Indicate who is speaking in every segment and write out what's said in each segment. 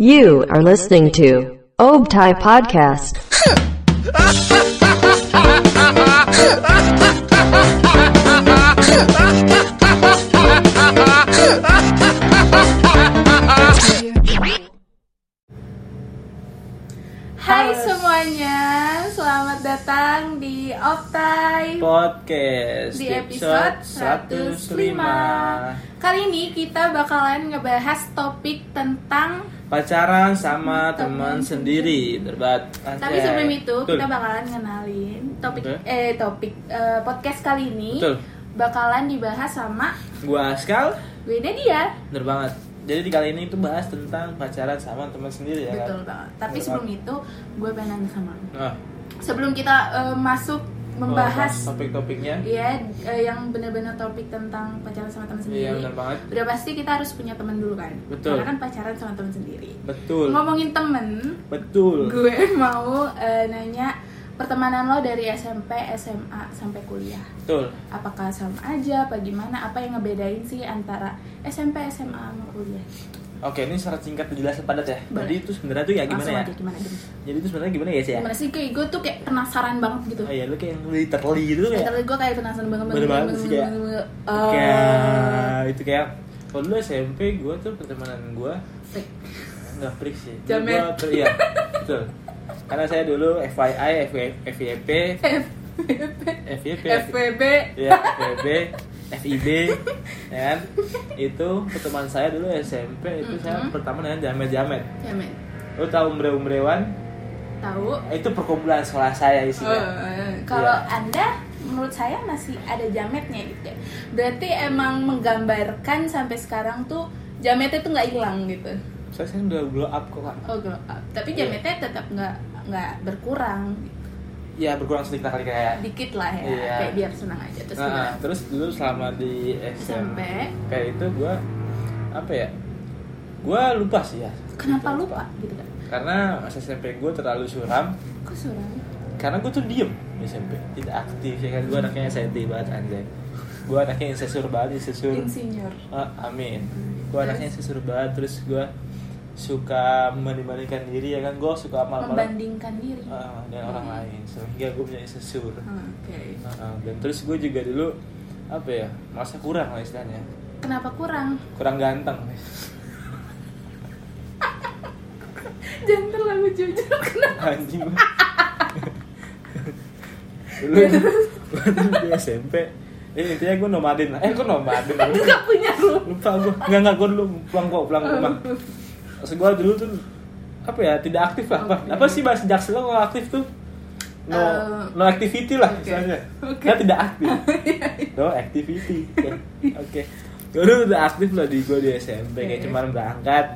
Speaker 1: You are listening to Obtai Podcast.
Speaker 2: Hai semuanya, selamat datang di Optai
Speaker 3: podcast
Speaker 2: di episode 105. Kali ini kita bakalan ngebahas topik tentang
Speaker 3: pacaran sama
Speaker 2: Teman
Speaker 3: teman sendiri terbat
Speaker 2: tapi
Speaker 3: Anjay.
Speaker 2: sebelum itu
Speaker 3: Betul.
Speaker 2: kita bakalan ngenalin topik
Speaker 3: Betul.
Speaker 2: eh topik eh, podcast kali ini
Speaker 3: Betul.
Speaker 2: bakalan dibahas sama
Speaker 3: gua askal
Speaker 2: gue Nadia.
Speaker 3: bener banget jadi di kali ini itu bahas tentang pacaran sama teman sendiri ya kan?
Speaker 2: Betul banget. Tapi
Speaker 3: Betul
Speaker 2: sebelum itu gue pengen nanya sama lu.
Speaker 3: Nah,
Speaker 2: Sebelum kita eh, masuk membahas
Speaker 3: topik-topiknya
Speaker 2: ya eh, yang benar-benar topik tentang pacaran sama teman sendiri.
Speaker 3: iya bener banget
Speaker 2: Udah pasti kita harus punya teman dulu kan.
Speaker 3: Betul.
Speaker 2: Karena kan pacaran sama teman sendiri.
Speaker 3: betul
Speaker 2: Ngomongin temen,
Speaker 3: betul
Speaker 2: gue mau eh, nanya pertemanan lo dari SMP, SMA sampai kuliah.
Speaker 3: betul
Speaker 2: Apakah sama aja apa gimana? Apa yang ngebedain sih antara SMP, SMA sama kuliah?
Speaker 3: oke ini secara singkat dijelasin padat ya
Speaker 2: Boleh.
Speaker 3: jadi itu sebenarnya tuh ya gimana
Speaker 2: Langsung
Speaker 3: ya
Speaker 2: aja gimana gimana?
Speaker 3: jadi itu sebenarnya gimana ya sih ya
Speaker 2: Gimana sih kayak gue tuh kayak penasaran banget gitu.
Speaker 3: oh iya lu kayak literally gitu
Speaker 2: Literally
Speaker 3: kayak
Speaker 2: gue kayak penasaran banget Eh,
Speaker 3: Bener banget sih, kayak-
Speaker 2: banget.
Speaker 3: kayak Iya,
Speaker 2: Eh,
Speaker 3: itu kayak kalau dulu SMP gue tuh pertemanan gue nggak freak sih Dulu
Speaker 2: Jamet.
Speaker 3: gua ter- iya betul karena saya dulu FYI FYP FYP
Speaker 2: FBB
Speaker 3: ya FYP FIB ya kan itu teman saya dulu SMP itu saya
Speaker 2: Mhm.
Speaker 3: pertama dengan jamet jamet
Speaker 2: ya men
Speaker 3: lu tahu umbre umbrewan
Speaker 2: tahu
Speaker 3: itu perkumpulan sekolah saya isinya
Speaker 2: Eh, kalau
Speaker 3: Oh, Iya.
Speaker 2: anda menurut saya masih ada jametnya gitu ya. berarti emang menggambarkan sampai sekarang tuh jametnya tuh nggak hilang gitu
Speaker 3: saya sekarang udah blow up kok kak
Speaker 2: oh glow up. tapi
Speaker 3: Iya.
Speaker 2: jametnya tetap nggak nggak berkurang gitu.
Speaker 3: ya berkurang sedikit kali kayak
Speaker 2: dikit lah ya
Speaker 3: Iya.
Speaker 2: kayak biar senang aja terus
Speaker 3: Nah,
Speaker 2: gimana?
Speaker 3: terus dulu selama di SMP
Speaker 2: SMP.
Speaker 3: kayak itu gue apa ya gue lupa sih ya
Speaker 2: kenapa
Speaker 3: Gitu,
Speaker 2: lupa gitu kan
Speaker 3: karena masa SMP gue terlalu suram
Speaker 2: kok suram
Speaker 3: karena gue tuh diem di SMP tidak aktif ya kan gue anaknya anxiety banget anjay gue anaknya insecure banget insecure
Speaker 2: insinyur
Speaker 3: Ah, amin gue anaknya insecure banget terus gue suka membanding-bandingkan diri ya kan gue suka malam-malam
Speaker 2: membandingkan diri
Speaker 3: ah, dengan orang lain sehingga gue punya insecure
Speaker 2: Hmm, oke
Speaker 3: Ah, ah. dan terus gue juga dulu apa ya masa kurang lah istilahnya
Speaker 2: kenapa kurang
Speaker 3: kurang ganteng
Speaker 2: jangan terlalu jujur kenapa
Speaker 3: anjing lu. dulu gua dulu di SMP eh, intinya gue nomaden lah eh gue nomaden lupa,
Speaker 2: nggak punya lu
Speaker 3: lupa gue nggak nggak gue dulu pulang kok pulang rumah
Speaker 2: Oh.
Speaker 3: terus gue dulu tuh apa ya tidak aktif lah apa,
Speaker 2: Oke.
Speaker 3: apa sih bahasa jaksel lo kalau aktif tuh no
Speaker 2: Eh,
Speaker 3: no activity lah
Speaker 2: oke.
Speaker 3: misalnya
Speaker 2: Oke. Iya,
Speaker 3: Karena tidak aktif no activity oke gue dulu udah aktif lah di gue di SMP kayak
Speaker 2: Oke.
Speaker 3: cuman berangkat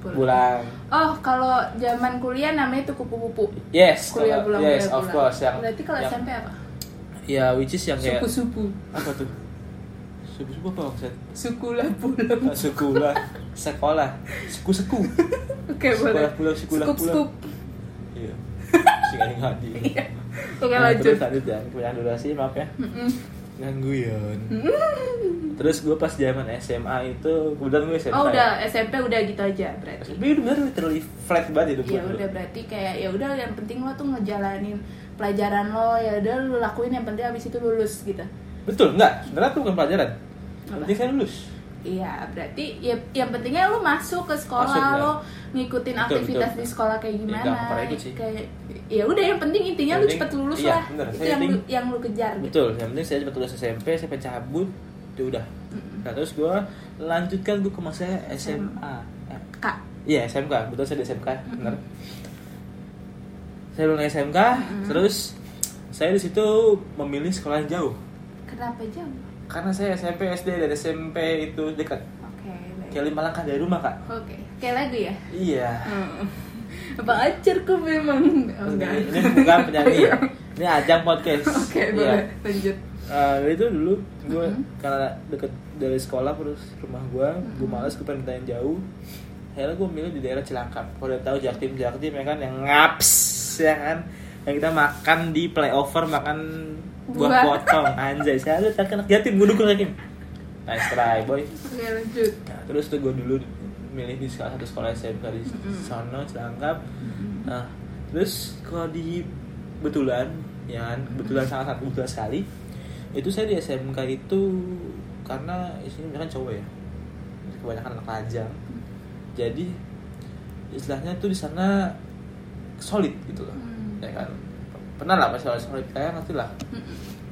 Speaker 2: Pulang.
Speaker 3: pulang
Speaker 2: Oh, kalau zaman kuliah namanya tuh kupu-kupu.
Speaker 3: Yes,
Speaker 2: Kuliah
Speaker 3: kalau-
Speaker 2: pulang,
Speaker 3: yes,
Speaker 2: kuliah
Speaker 3: of
Speaker 2: pulang.
Speaker 3: course yang
Speaker 2: Berarti kalau
Speaker 3: yang,
Speaker 2: SMP apa?
Speaker 3: ya which is yang kayak
Speaker 2: Suku-suku.
Speaker 3: apa tuh? Suku-suku apa maksud?
Speaker 2: Suku lah pulang.
Speaker 3: Ah, Suku lah, sekolah, seku-seku.
Speaker 2: Oke,
Speaker 3: Suku
Speaker 2: boleh.
Speaker 3: lah pulang, suku lah
Speaker 2: Skup-skup.
Speaker 3: Iya. Sing ada ngadi.
Speaker 2: Iya, Oke,
Speaker 3: Nah,
Speaker 2: lanjut.
Speaker 3: Terus lanjut ya, kebanyakan durasi maaf ya.
Speaker 2: Mm-mm.
Speaker 3: Gangguan. Terus gue pas zaman SMA itu, kemudian gue SMA.
Speaker 2: Oh,
Speaker 3: ya.
Speaker 2: udah SMP udah gitu aja berarti.
Speaker 3: Tapi udah bener literally flat banget hidup
Speaker 2: Ya
Speaker 3: gua dulu.
Speaker 2: udah berarti kayak ya udah yang penting lo tuh ngejalanin pelajaran lo ya udah lu lakuin yang penting abis itu lulus gitu.
Speaker 3: Betul, enggak? Sebenarnya tuh bukan pelajaran.
Speaker 2: Apa?
Speaker 3: Jadi saya lulus.
Speaker 2: Iya, berarti ya yang pentingnya lu masuk ke sekolah,
Speaker 3: Masuk, ya.
Speaker 2: lo ngikutin
Speaker 3: Betul,
Speaker 2: aktivitas
Speaker 3: betul. Iya,
Speaker 2: di sekolah kayak gimana.
Speaker 3: nggak pernah ikut gitu sih.
Speaker 2: Kayak ya udah yang penting intinya
Speaker 3: Yang
Speaker 2: lu
Speaker 3: penting-
Speaker 2: cepet lulus
Speaker 3: iya,
Speaker 2: lah.
Speaker 3: bener.
Speaker 2: Itu
Speaker 3: Yang
Speaker 2: yang lu,
Speaker 3: penting-
Speaker 2: yang lu kejar gitu.
Speaker 3: Betul, yang penting saya cepat lulus SMP, saya cabut, itu udah. Nah, terus gue lanjutkan gue ke masa SMA. Eh,
Speaker 2: Kak.
Speaker 3: Iya, SMK. Betul saya di SMK, benar. Saya lulus SMK, terus saya di situ memilih sekolah yang jauh.
Speaker 2: Kenapa jauh?
Speaker 3: Karena saya SMP, SD dan SMP itu dekat.
Speaker 2: Oke. baik.
Speaker 3: Kayak lima langkah dari rumah, Kak.
Speaker 2: Oke. Kayak lagu ya?
Speaker 3: Iya.
Speaker 2: Hmm. Apa acarku memang oh, enggak.
Speaker 3: Ini bukan penyanyi. ya. Ini ajang podcast.
Speaker 2: Oke,
Speaker 3: Iya.
Speaker 2: boleh lanjut.
Speaker 3: Eh, itu dulu gue
Speaker 2: Mhm.
Speaker 3: karena deket dari sekolah terus rumah gue gue malas gue pengen tanya jauh akhirnya gue milih di daerah Cilangkap kalau udah tahu Jaktim Jaktim ya kan yang ngaps ya kan yang kita makan di playover makan buah
Speaker 2: Buah.
Speaker 3: potong anjay saya ada tak anak Jatim gue dukung Jatim nice try boy
Speaker 2: Oke, lanjut.
Speaker 3: Nah, terus tuh gue dulu milih di salah satu sekolah SMK di
Speaker 2: Mm-mm.
Speaker 3: sono Cilangkap nah terus kalau di betulan ya kan, kebetulan sangat sangat kebetulan sekali itu saya di SMK itu karena isinya kan cowok ya kebanyakan anak lajang jadi istilahnya tuh di sana solid gitu loh
Speaker 2: Hmm.
Speaker 3: ya kan pernah lah pasti solid solid kayak ngerti lah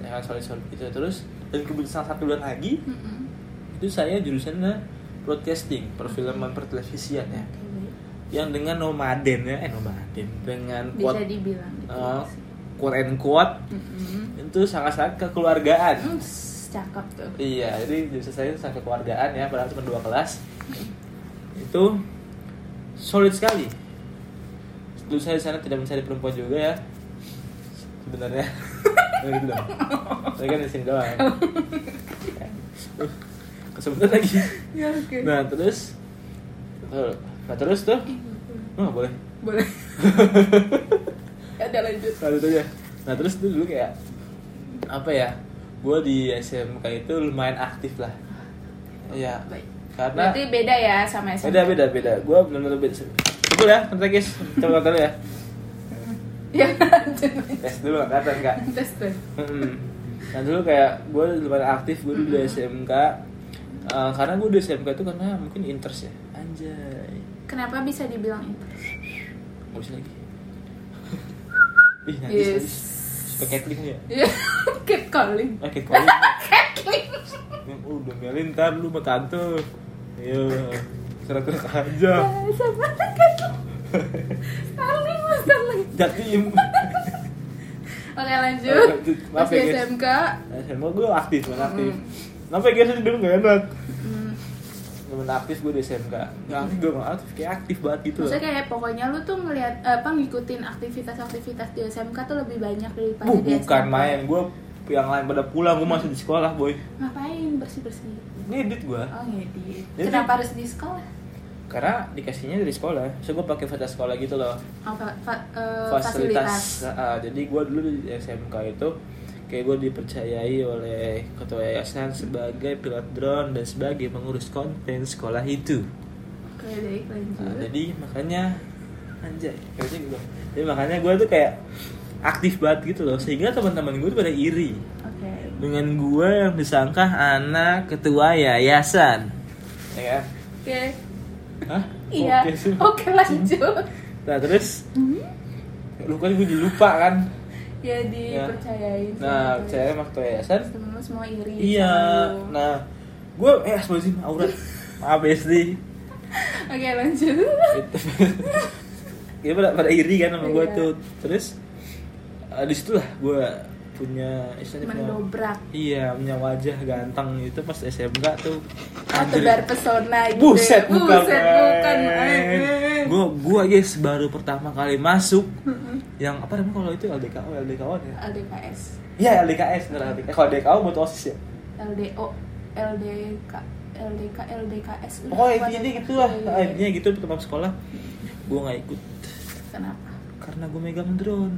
Speaker 3: ya kan solid solid gitu terus dan kemudian salah satu bulan lagi
Speaker 2: Mm-mm.
Speaker 3: itu saya jurusannya broadcasting perfilman pertelevisian ya yang dengan nomaden ya eh nomaden dengan
Speaker 2: bisa
Speaker 3: quote
Speaker 2: dibilang gitu
Speaker 3: eh,
Speaker 2: sih.
Speaker 3: quote and quote
Speaker 2: Mm-mm.
Speaker 3: itu sangat-sangat kekeluargaan
Speaker 2: Hmm, s- cakep tuh
Speaker 3: iya jadi jurusan saya itu sangat kekeluargaan ya padahal cuma dua kelas itu solid sekali dulu saya di sana tidak mencari perempuan juga ya sebenarnya Nggak gitu dong saya kan di sini doang Iya. kesebutan lagi
Speaker 2: ya oke
Speaker 3: Nah terus Tuh. Nah terus tuh
Speaker 2: Mm-hmm.
Speaker 3: Oh nggak boleh
Speaker 2: boleh ada lanjut
Speaker 3: Lanjut aja Nah terus tuh dulu kayak Apa ya Gue di SMK itu lumayan aktif lah Iya
Speaker 2: Oh, baik
Speaker 3: Karena
Speaker 2: berarti beda ya sama SMP
Speaker 3: Beda beda beda Gue bener-bener beda Coba ya Nanti guys Coba nonton ya
Speaker 2: ya lanjut
Speaker 3: Tes dulu nggak kelihatan kak
Speaker 2: tes tuh
Speaker 3: Mm-mm. Nah dulu kayak gue lumayan aktif gue dulu di
Speaker 2: Mm-hmm.
Speaker 3: SMK Eh, Karena gue di SMK itu karena mungkin interest ya Anjay
Speaker 2: kenapa bisa dibilang itu
Speaker 3: Gak bisa lagi Ih najis
Speaker 2: yes
Speaker 3: najis Suka catling ya?
Speaker 2: Iya, keep calling
Speaker 3: Eh catcalling
Speaker 2: Catcalling.
Speaker 3: Uh udah melin ntar lu sama tante Ayo Serak-serak aja
Speaker 2: sama catcalling saling mas saling
Speaker 3: Jatim
Speaker 2: oke lanjut
Speaker 3: Lanjut.
Speaker 2: pas
Speaker 3: Maaf
Speaker 2: di
Speaker 3: ya, guys.
Speaker 2: SMK
Speaker 3: Nah SMA gue aktif banget aktif
Speaker 2: Mm.
Speaker 3: Kenapa ya guys dulu gak enak
Speaker 2: hmm,
Speaker 3: Temen aktif gue di SMK Gak aktif gue gak aktif Ya, Kayak aktif banget gitu loh
Speaker 2: maksudnya kayak pokoknya lu tuh ngelihat apa ngikutin aktivitas-aktivitas di SMK tuh lebih banyak daripada
Speaker 3: Bu,
Speaker 2: di
Speaker 3: Bukan
Speaker 2: SMP.
Speaker 3: main Gue yang lain pada pulang Gue masih di sekolah boy
Speaker 2: ngapain bersih-bersih
Speaker 3: Ngedit gue
Speaker 2: oh ngedit
Speaker 3: Jadi-
Speaker 2: kenapa harus di sekolah
Speaker 3: Karena dikasihnya dari sekolah So gue pakai fasilitas sekolah gitu loh
Speaker 2: apa fa- eh,
Speaker 3: fasilitas. Ah, jadi gue dulu di SMK itu kayak gue dipercayai oleh ketua yayasan sebagai pilot drone dan sebagai pengurus konten sekolah itu.
Speaker 2: oke baik lanjut
Speaker 3: Nah, jadi makanya anjay, kayaknya gitu. Jadi makanya gue tuh kayak aktif banget gitu loh sehingga teman-teman gue tuh pada iri
Speaker 2: oke
Speaker 3: dengan gue yang disangka anak ketua yayasan. Ya kan?
Speaker 2: oke
Speaker 3: Hah?
Speaker 2: iya
Speaker 3: Oke, sih.
Speaker 2: oke lanjut
Speaker 3: Nah terus lu kan gue lupa kan.
Speaker 2: ya dipercayain sama
Speaker 3: Nah,
Speaker 2: tuh.
Speaker 3: saya sama ketua yayasan
Speaker 2: temen lu semua iri
Speaker 3: Iya.
Speaker 2: sama lu.
Speaker 3: Nah, gue eh asmazin aurat. Maaf SD.
Speaker 2: oke lanjut
Speaker 3: Dia pada, pada iri kan sama gue
Speaker 2: Iya.
Speaker 3: tuh. Terus eh, disitulah gue punya istilahnya punya
Speaker 2: mendobrak
Speaker 3: Iya, punya wajah ganteng itu pas SMK tuh.
Speaker 2: Oh, tebar pesona gitu
Speaker 3: Buset,
Speaker 2: ya.
Speaker 3: bukan.
Speaker 2: Buset, bukan. Eh, eh.
Speaker 3: Gue gua guys baru pertama kali masuk yang apa namanya kalau itu LDKO LDKO ya.
Speaker 2: LDKS
Speaker 3: Iya, LDKS bener LDKO. Kalau LDKO buat OSIS ya.
Speaker 2: LDO LDK LDK LDKS udah
Speaker 3: Pokoknya
Speaker 2: buat-
Speaker 3: intinya gitu lah,
Speaker 2: Iya, iya.
Speaker 3: intinya gitu teman sekolah. Gue nggak ikut
Speaker 2: kenapa
Speaker 3: karena gue megang drone.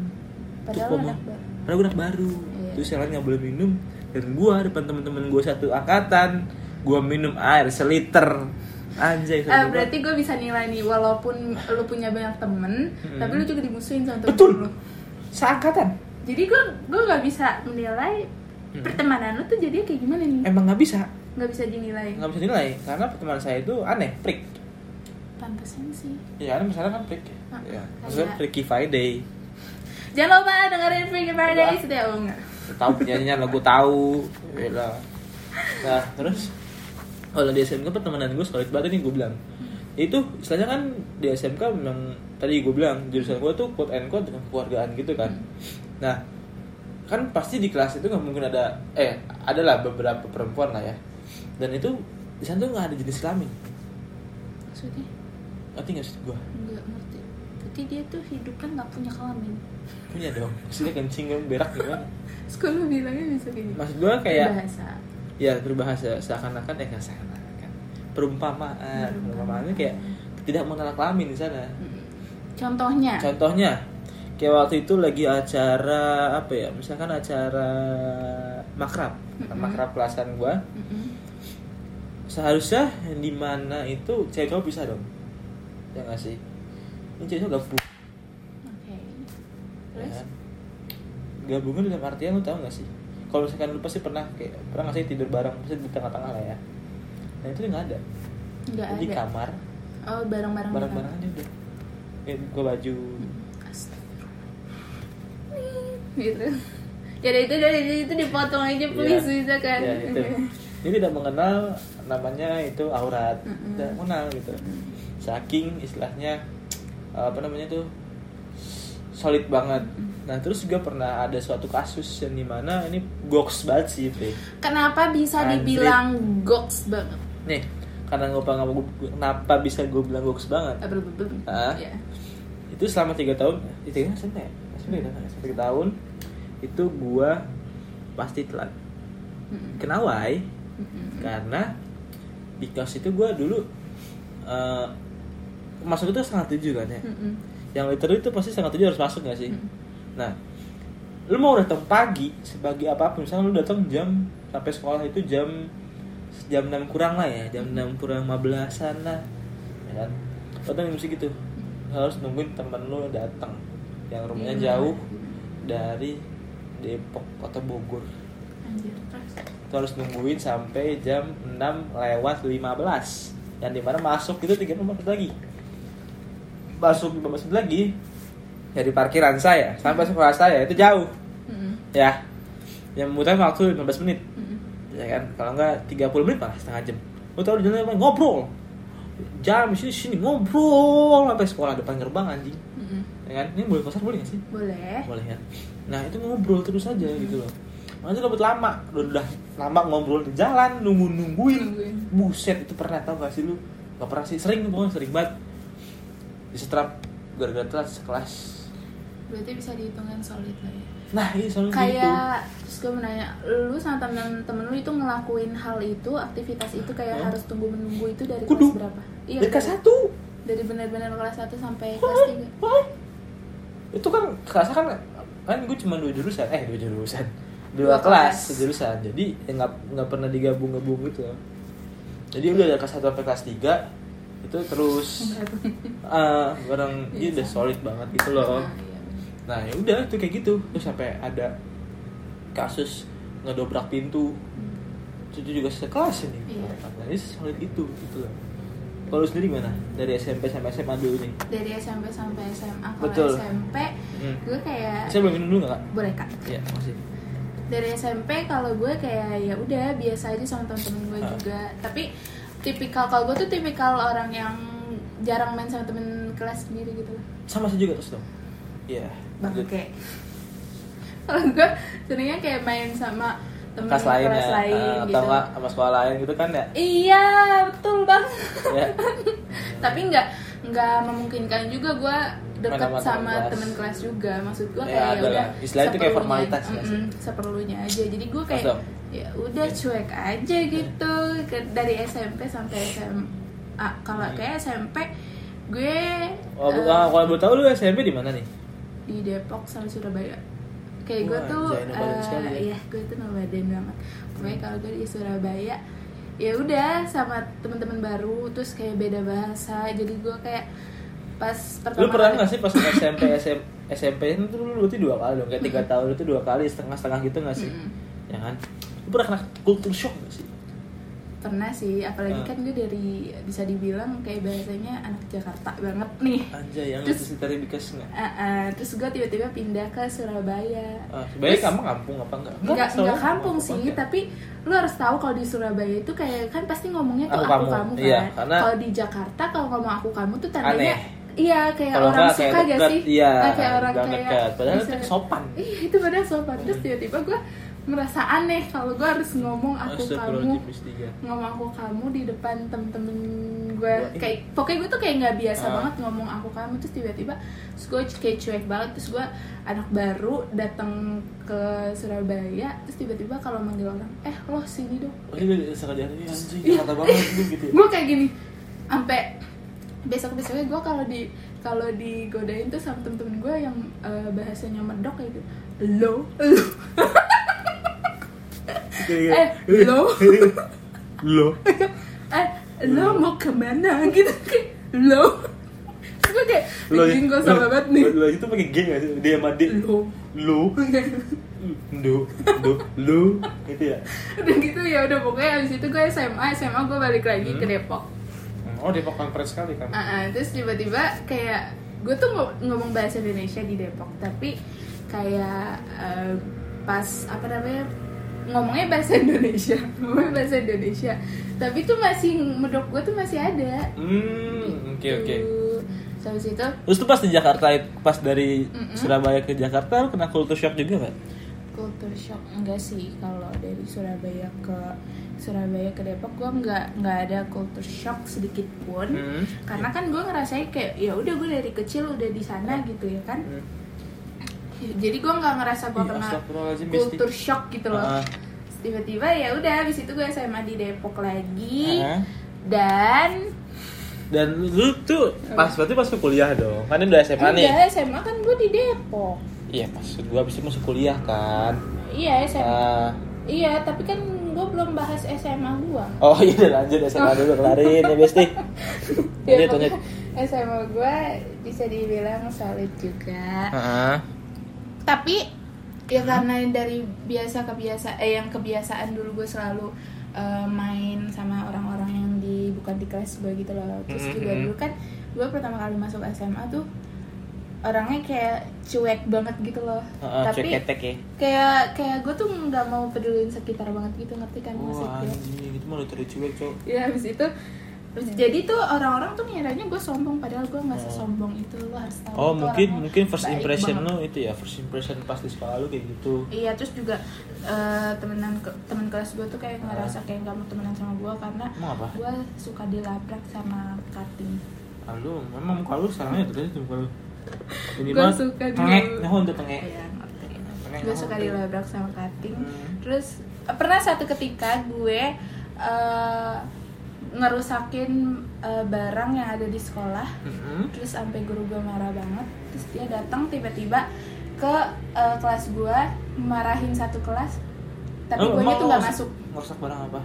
Speaker 2: Padahal
Speaker 3: gua
Speaker 2: lu
Speaker 3: mau-
Speaker 2: anak baru.
Speaker 3: Padahal gue anak baru.
Speaker 2: Iya.
Speaker 3: Terus yang lain nggak boleh minum. Dan gue depan teman-teman gue satu angkatan, gue minum air seliter. Anjay.
Speaker 2: Eh,
Speaker 3: satu
Speaker 2: berarti gue bisa nilai nih walaupun lu punya banyak temen
Speaker 3: Mm-mm.
Speaker 2: tapi lu juga dimusuhin sama temen
Speaker 3: Hmm. Betul.
Speaker 2: lu
Speaker 3: doang. Seangkatan.
Speaker 2: jadi gue gue nggak bisa menilai
Speaker 3: Mm.
Speaker 2: pertemanan lu tuh jadi kayak gimana nih
Speaker 3: Emang nggak bisa,
Speaker 2: nggak bisa dinilai
Speaker 3: nggak bisa nilai karena pertemanan saya itu aneh, prik.
Speaker 2: pantesan sih
Speaker 3: Iya, aneh misalnya kan prik.
Speaker 2: Ah,
Speaker 3: Iya.
Speaker 2: kayak-
Speaker 3: Maksudnya Freaky Friday.
Speaker 2: jangan lupa dengerin Freaky Friday
Speaker 3: Wah.
Speaker 2: setiap oh, enggak
Speaker 3: tahu penyanyinya lagu tahu Gila. nah terus kalau di SMK pertemanan gue solid banget nih gue bilang itu istilahnya kan di SMK memang tadi gue bilang jurusan gue tuh quote and quote dengan keluargaan gitu kan nah kan pasti di kelas itu nggak mungkin ada eh adalah beberapa perempuan lah ya dan itu di sana tuh nggak ada jenis kelamin
Speaker 2: maksudnya
Speaker 3: ngerti nggak sih gue
Speaker 2: nggak ngerti berarti dia tuh hidup kan nggak punya kelamin
Speaker 3: punya dong maksudnya kencing kan berak gimana
Speaker 2: sekolah bilangnya bisa kayak gitu
Speaker 3: maksud gue kayak
Speaker 2: bahasa
Speaker 3: ya berbahasa seakan-akan eh nggak seakan-akan perumpamaan
Speaker 2: Perumpamaan.
Speaker 3: perumpamaannya kayak tidak mengenal kelamin di sana
Speaker 2: Nah. contohnya
Speaker 3: contohnya kayak waktu itu lagi acara apa ya misalkan acara makrab
Speaker 2: Mm-mm.
Speaker 3: makrab kelasan gua
Speaker 2: Mm-mm.
Speaker 3: seharusnya di mana itu cewek cowok bisa dong ya nggak sih ini cewek cowok gabung
Speaker 2: Oke.
Speaker 3: ya
Speaker 2: Terus?
Speaker 3: kan? gabungan dalam artian lu tau nggak sih kalau misalkan lu pasti pernah kayak pernah nggak sih tidur bareng pasti di tengah-tengah lah ya nah itu nggak ada
Speaker 2: Enggak
Speaker 3: di
Speaker 2: ada.
Speaker 3: kamar
Speaker 2: Oh, bareng-bareng.
Speaker 3: bareng-bareng aja udah eh, buka baju
Speaker 2: Astagfirullah. Gitu. Jadi itu dari itu dipotong aja please
Speaker 3: Iya.
Speaker 2: bisa kan?
Speaker 3: Iya, itu. Dia tidak mengenal namanya itu aurat,
Speaker 2: Mm-mm.
Speaker 3: tidak mengenal gitu. Saking istilahnya eh, apa namanya tuh solid banget. Nah terus juga pernah ada suatu kasus yang dimana ini goks banget sih, Bre.
Speaker 2: Kenapa bisa
Speaker 3: Anjrit.
Speaker 2: dibilang goks banget?
Speaker 3: Nih karena gue kenapa bisa gue bilang goks banget?
Speaker 2: Apa bebem?
Speaker 3: Ah.
Speaker 2: Iya.
Speaker 3: Itu selama tiga tahun, eh, tiga tahun sampai, sampai tiga tahun itu gua pasti telat.
Speaker 2: Mm-mm.
Speaker 3: Kenawai?
Speaker 2: Mm-mm.
Speaker 3: karena because itu gue dulu eh, masuk itu setengah tujuh kan ya
Speaker 2: Mm-mm.
Speaker 3: yang literally itu pasti setengah tujuh harus masuk gak sih
Speaker 2: Mm.
Speaker 3: nah lu mau datang pagi sebagai apapun misalnya lu datang jam sampai sekolah itu jam jam 6 kurang lah ya jam 6 kurang 15an lah ya kan Lu datang jam segitu gitu, Lu harus nungguin temen lu yang datang yang rumahnya
Speaker 2: Iya.
Speaker 3: jauh dari Depok atau Bogor
Speaker 2: Anjir. Terus?
Speaker 3: itu harus nungguin sampai jam 6 lewat 15 yang dimana masuk itu 30 menit lagi masuk 15 menit lagi dari parkiran saya sampai sekolah saya itu jauh
Speaker 2: Mm-mm.
Speaker 3: ya yang membutuhkan waktu 15 menit
Speaker 2: Mm-mm.
Speaker 3: ya kan kalau nggak 30 menit malah setengah jam lu tahu di jalan apa ngobrol jam sini sini ngobrol sampai sekolah depan gerbang anjing
Speaker 2: Mm-mm.
Speaker 3: ya kan ini boleh pasar boleh nggak sih
Speaker 2: Boleh.
Speaker 3: boleh ya nah itu ngobrol terus aja gitu loh makanya itu dapat lama udah, udah lama ngobrol di jalan nunggu nungguin
Speaker 2: Nungguin.
Speaker 3: buset itu pernah tau gak sih lu gak pernah sih sering pokoknya sering banget disetrap gara-gara telat sekelas
Speaker 2: Berarti bisa dihitungkan solid lah ya.
Speaker 3: nah ini soalnya
Speaker 2: kayak terus gue mau nanya lu sama temen-temen lu itu ngelakuin hal itu aktivitas itu kayak
Speaker 3: Hah?
Speaker 2: harus tunggu menunggu itu dari
Speaker 3: Kudu.
Speaker 2: kelas berapa Iya,
Speaker 3: gitu dari kelas
Speaker 2: dari-
Speaker 3: satu
Speaker 2: dari benar-benar kelas 1 sampai kelas
Speaker 3: Hah?
Speaker 2: 3
Speaker 3: Hah? itu kan kerasa kan kan gue cuma dua jurusan eh dua jurusan dua,
Speaker 2: Dua
Speaker 3: kelas
Speaker 2: kelas.
Speaker 3: sejurusan jadi ya nggak nggak pernah digabung-gabung gitu loh. jadi udah dari kelas satu sampai kelas tiga itu terus Ah, barang dia udah solid banget gitu loh.
Speaker 2: iya,
Speaker 3: Nah, ya udah itu kayak gitu. Terus sampai ada kasus ngedobrak pintu.
Speaker 2: Hmm.
Speaker 3: Itu juga sekelas ini.
Speaker 2: Iya.
Speaker 3: Jadi solid itu gitu loh. Kalau lu sendiri gimana? Dari SMP sampai SMA dulu nih.
Speaker 2: dari SMP sampai SMA
Speaker 3: Betul.
Speaker 2: kalau SMP
Speaker 3: Hmm.
Speaker 2: gue kayak
Speaker 3: Saya belum minum dulu nggak? Kak?
Speaker 2: boleh kak
Speaker 3: Iya, masih.
Speaker 2: dari SMP kalau gue kayak ya udah biasa aja sama temen-temen gue
Speaker 3: Ah.
Speaker 2: juga tapi tipikal kalau gue tuh tipikal orang yang jarang main sama temen kelas sendiri gitu loh
Speaker 3: Sama sih juga terus dong. Iya. lanjut.
Speaker 2: bangke kalau gue seringnya kayak main sama temen
Speaker 3: Kelas lain ya,
Speaker 2: lain
Speaker 3: eh, atau
Speaker 2: gitu
Speaker 3: nggak sama sekolah lain gitu kan ya?
Speaker 2: iya betul bang
Speaker 3: ya.
Speaker 2: tapi nggak nggak memungkinkan juga gue dekat
Speaker 3: Main sama
Speaker 2: sama
Speaker 3: temen kelas.
Speaker 2: temen kelas juga maksud gue
Speaker 3: Ya,
Speaker 2: kayak ya
Speaker 3: ada
Speaker 2: udah
Speaker 3: lah. Istilahnya itu kayak
Speaker 2: seperlunya-
Speaker 3: formalitas nggak sih?
Speaker 2: Mm-mm, seperlunya aja jadi gue kayak
Speaker 3: Masuk. Iya.
Speaker 2: ya udah cuek aja gitu Ke- dari SMP sampai SMA kalau kayak SMP gue
Speaker 3: Hmm. Oh, bu-
Speaker 2: eh,
Speaker 3: ah, kalau boleh tahu lu SMP di mana nih?
Speaker 2: di Depok sama Surabaya kayak gue
Speaker 3: Wah,
Speaker 2: tuh
Speaker 3: jauh nomaden
Speaker 2: eh,
Speaker 3: sekali ya.
Speaker 2: iya gue tuh nomaden banget pokoknya kalau gue di Surabaya ya udah sama teman-teman baru terus kayak beda bahasa jadi gue kayak pas pertama
Speaker 3: Lu pernah
Speaker 2: kali-
Speaker 3: nggak sih pas SMP SM, SMP itu lu berarti dua kali dong kayak tiga tahun itu dua kali setengah setengah gitu nggak sih?
Speaker 2: Mm-mm.
Speaker 3: Ya kan? Lu pernah kena culture shock nggak sih?
Speaker 2: pernah sih apalagi
Speaker 3: Ah.
Speaker 2: kan gue dari bisa dibilang kayak bahasanya anak Jakarta banget nih
Speaker 3: Anjay yang
Speaker 2: Terus-
Speaker 3: itu sih tadi bekas nggak?
Speaker 2: Ah, ah. terus gue tiba-tiba pindah ke Surabaya
Speaker 3: Ah, sebenarnya
Speaker 2: Terus-
Speaker 3: kamu kampung apa enggak?
Speaker 2: nggak nggak kampung sih tapi lu harus tahu kalau di Surabaya itu kayak kan pasti ngomongnya tuh
Speaker 3: Aku
Speaker 2: aku,
Speaker 3: kamu.
Speaker 2: kamu, kan
Speaker 3: Iya, karena-
Speaker 2: kalau di Jakarta kalau ngomong aku kamu tuh tandanya
Speaker 3: Aneh.
Speaker 2: iya kayak
Speaker 3: Kalau
Speaker 2: orang
Speaker 3: nggak, kayak
Speaker 2: suka gak
Speaker 3: deket,
Speaker 2: sih
Speaker 3: iya,
Speaker 2: Nah, kayak orang
Speaker 3: nggak
Speaker 2: kayak
Speaker 3: deket. Padahal itu
Speaker 2: misalnya-
Speaker 3: sopan.
Speaker 2: iya itu padahal sopan terus tiba-tiba gue merasa aneh kalau gue harus ngomong aku kamu
Speaker 3: tiga.
Speaker 2: ngomong aku kamu di depan temen-temen gue
Speaker 3: Wah, ih.
Speaker 2: kayak pokoknya gue tuh kayak nggak biasa
Speaker 3: Ah.
Speaker 2: banget ngomong aku kamu terus tiba-tiba terus gue kayak cuek banget terus gue anak baru datang ke Surabaya terus tiba-tiba kalau manggil orang eh lo sini dong
Speaker 3: Oh iya, udah sengaja ini anjing Jakarta banget lu gitu. ya.
Speaker 2: gue kayak gini sampai besok besoknya gue kalau di kalau digodain tuh sama temen-temen gue yang eh, bahasanya medok kayak gitu lo lo
Speaker 3: Kayak-
Speaker 2: eh lo
Speaker 3: Lo.
Speaker 2: Eh,
Speaker 3: Hmm.
Speaker 2: lo mau kemana gitu kayak lo Terus gue kayak anjing gue sama banget nih
Speaker 3: ya? lo, ya? lo itu pakai geng gak sih dia sama dia
Speaker 2: lo
Speaker 3: lu lu lu lu itu ya
Speaker 2: udah gitu ya udah pokoknya abis itu gue SMA SMA gue balik lagi
Speaker 3: Hmm.
Speaker 2: ke Depok
Speaker 3: oh Depok Conference kali kan
Speaker 2: Ah, ah, terus tiba-tiba kayak gue tuh ngo- ngomong bahasa Indonesia di Depok tapi kayak eh, pas apa namanya ngomongnya bahasa Indonesia ngomongnya bahasa Indonesia tapi tuh masih medok gue tuh masih ada
Speaker 3: hmm oke oke
Speaker 2: Gitu. sampai situ
Speaker 3: terus tuh pas di Jakarta pas dari
Speaker 2: Mm-mm.
Speaker 3: Surabaya ke Jakarta lu kena culture shock juga nggak
Speaker 2: culture shock enggak sih kalau dari Surabaya ke Surabaya ke Depok gue nggak nggak ada culture shock sedikit pun
Speaker 3: Hmm.
Speaker 2: karena kan gue ngerasain kayak ya udah gue dari kecil udah di sana gitu ya kan
Speaker 3: Hmm.
Speaker 2: jadi gue nggak ngerasa gue
Speaker 3: Ih,
Speaker 2: kena
Speaker 3: Iya, astagfirullahaladzim, Besti.
Speaker 2: culture shock gitu loh
Speaker 3: Ah.
Speaker 2: tiba-tiba ya udah habis itu gue SMA di Depok lagi
Speaker 3: Ah.
Speaker 2: dan
Speaker 3: dan lu tuh pas berarti pas lu kuliah dong kan ini udah SMA nih
Speaker 2: udah SMA kan gue di Depok
Speaker 3: iya maksud gua abis itu masuk kuliah kan
Speaker 2: iya SMA
Speaker 3: Ah.
Speaker 2: iya tapi kan gue belum bahas SMA gue
Speaker 3: oh iya udah lanjut SMA dulu kelarin ya Besti
Speaker 2: Ya,
Speaker 3: lanjut lanjut
Speaker 2: pokoknya SMA gue bisa dibilang solid juga
Speaker 3: Heeh.
Speaker 2: tapi ya karena dari biasa kebiasa eh yang kebiasaan dulu gue selalu eh, main sama orang-orang yang di bukan di kelas gue gitu loh terus
Speaker 3: Mhm.
Speaker 2: juga dulu kan gue pertama kali masuk SMA tuh orangnya kayak cuek banget gitu loh
Speaker 3: Heeh,
Speaker 2: tapi
Speaker 3: cuek ketek ya
Speaker 2: kayak kayak gue tuh nggak mau pedulin sekitar banget gitu ngerti kan
Speaker 3: Wah
Speaker 2: maksudnya
Speaker 3: anjing, itu malah dari cuek cok
Speaker 2: ya habis itu habis- jadi tuh orang-orang tuh ngiranya gue sombong padahal gue nggak
Speaker 3: Oh.
Speaker 2: sesombong itu lo harus tahu
Speaker 3: Oh
Speaker 2: itu
Speaker 3: mungkin
Speaker 2: orangnya
Speaker 3: mungkin first
Speaker 2: baik
Speaker 3: impression
Speaker 2: banget.
Speaker 3: lu itu ya first impression pas di sekolah lu kayak gitu
Speaker 2: iya terus juga eh, temenan ke- temen kelas gue tuh kayak ngerasa kayak nggak mau temenan sama gue karena
Speaker 3: Emang apa?
Speaker 2: gue suka dilabrak sama cutting
Speaker 3: Ah, lu memang muka lu sekarang ya terus itu muka lu ini
Speaker 2: Gua
Speaker 3: banget
Speaker 2: suka di-
Speaker 3: tengek nah untuk tengek
Speaker 2: Iya, ngerti.
Speaker 3: Pernah
Speaker 2: gue
Speaker 3: nggak
Speaker 2: suka
Speaker 3: waktu itu?
Speaker 2: dilabrak sama cutting
Speaker 3: Hmm.
Speaker 2: terus eh, pernah satu ketika gue eh, ngerusakin eh, barang yang ada di sekolah
Speaker 3: Mm-mm.
Speaker 2: terus sampai guru gue marah banget terus dia datang tiba-tiba ke eh, kelas gue marahin ssatu kelas tapi
Speaker 3: Lu
Speaker 2: gue
Speaker 3: emang
Speaker 2: tuh
Speaker 3: lu
Speaker 2: nggak
Speaker 3: ngerusak-
Speaker 2: masuk
Speaker 3: ngerusak barang apa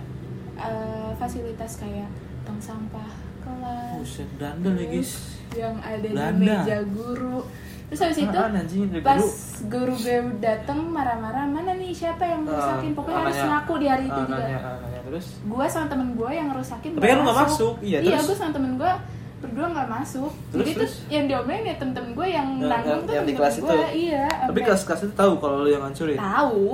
Speaker 2: eh, fasilitas kayak tong sampah kelas
Speaker 3: buset dandel ya guys
Speaker 2: yang ada
Speaker 3: Belanda.
Speaker 2: di meja guru terus habis itu
Speaker 3: Ah, anjing dari
Speaker 2: pas
Speaker 3: dulu.
Speaker 2: guru gue dateng marah-marah mana nih siapa yang ngerusakin pokoknya
Speaker 3: Ah,
Speaker 2: harus
Speaker 3: nanya.
Speaker 2: ngaku di hari itu
Speaker 3: Ah,
Speaker 2: juga
Speaker 3: nanya, ah, nanya. terus
Speaker 2: gue sama temen gue yang ngerusakin
Speaker 3: Tapi kan lu nggak masuk. Iya,
Speaker 2: iya,
Speaker 3: terus?
Speaker 2: gue sama temen gue berdua nggak masuk
Speaker 3: Terus,
Speaker 2: jadi
Speaker 3: terus?
Speaker 2: terus yang diomelin ya temen-temen gue yang
Speaker 3: Yang-
Speaker 2: nanggung
Speaker 3: yang-
Speaker 2: tuh
Speaker 3: yang di
Speaker 2: temen-temen
Speaker 3: kelas
Speaker 2: gue
Speaker 3: itu?
Speaker 2: iya
Speaker 3: tapi
Speaker 2: sampai
Speaker 3: kelas-kelas itu tahu kalau lu yang ngancurin
Speaker 2: tahu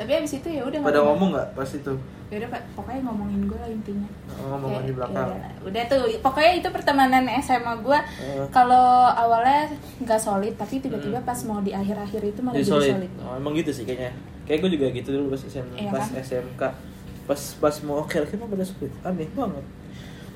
Speaker 2: tapi abis itu ya udah
Speaker 3: pada ngomong nggak pas itu
Speaker 2: ya udah pokoknya ngomongin gue lah intinya
Speaker 3: ngomong
Speaker 2: Kayak,
Speaker 3: di belakang
Speaker 2: ya udahlah. udah tuh pokoknya itu pertemanan SMA gue
Speaker 3: Eh. Hmm.
Speaker 2: kalau awalnya nggak solid tapi tiba-tiba pas mau di akhir-akhir itu malah
Speaker 3: jadi
Speaker 2: jadi
Speaker 3: solid.
Speaker 2: solid,
Speaker 3: Oh, emang gitu sih kayaknya. Kayak gue juga gitu dulu pas SM,
Speaker 2: Iya
Speaker 3: pas
Speaker 2: kan?
Speaker 3: SMK. Pas pas mau akhir akhir mah pada sulit. Aneh banget.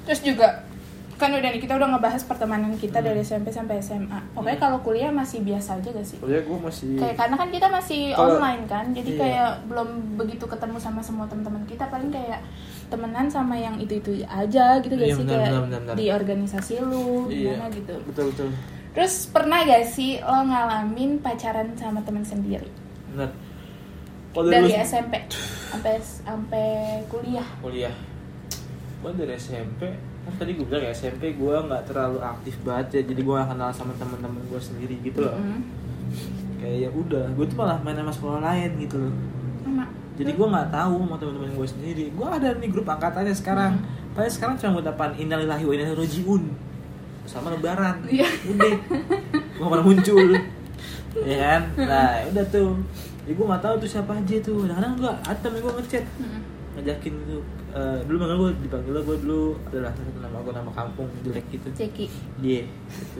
Speaker 2: terus juga kan udah nih kita udah ngebahas pertemanan kita dari SMP sampai SMA pokoknya
Speaker 3: Hmm.
Speaker 2: kalau kuliah masih biasa aja gak sih
Speaker 3: Kuliah gue masih
Speaker 2: kayak karena kan kita masih
Speaker 3: Kalau-
Speaker 2: online kan jadi
Speaker 3: iya.
Speaker 2: kayak belum begitu ketemu sama semua teman-teman kita paling kayak temenan sama yang itu itu aja gitu gak
Speaker 3: Iya,
Speaker 2: sih
Speaker 3: benar,
Speaker 2: kayak
Speaker 3: benar, benar, benar.
Speaker 2: di organisasi lu
Speaker 3: Iya.
Speaker 2: gimana gitu
Speaker 3: Betul betul.
Speaker 2: terus pernah gak sih lo ngalamin pacaran sama teman sendiri
Speaker 3: Benar. Kalau
Speaker 2: dari
Speaker 3: dulu-
Speaker 2: SMP sampai sampai kuliah
Speaker 3: kuliah. Gue dari SMP kan tadi gue bilang ya SMP gue nggak terlalu aktif banget ya jadi gue nggak kenal sama teman-teman gue sendiri gitu loh
Speaker 2: Mm-mm.
Speaker 3: kayak ya udah gue tuh malah main sama sekolah lain gitu loh
Speaker 2: Sama.
Speaker 3: jadi gue nggak tahu sama teman-teman gue sendiri gue ada nih grup angkatannya sekarang paling sekarang cuma ucapan innalillahi wa inna ilaihi rajiun sama lebaran
Speaker 2: Iya.
Speaker 3: udah gue pernah muncul ya kan nah udah tuh jadi gue nggak tahu tuh siapa aja tuh kadang-kadang gue ada temen gue ngechat
Speaker 2: Mm-mm.
Speaker 3: ngajakin tuh Eh, dulu manggil gue dipanggil gue dulu adalah satu nama gue nama kampung jelek gitu
Speaker 2: Jeki
Speaker 3: dia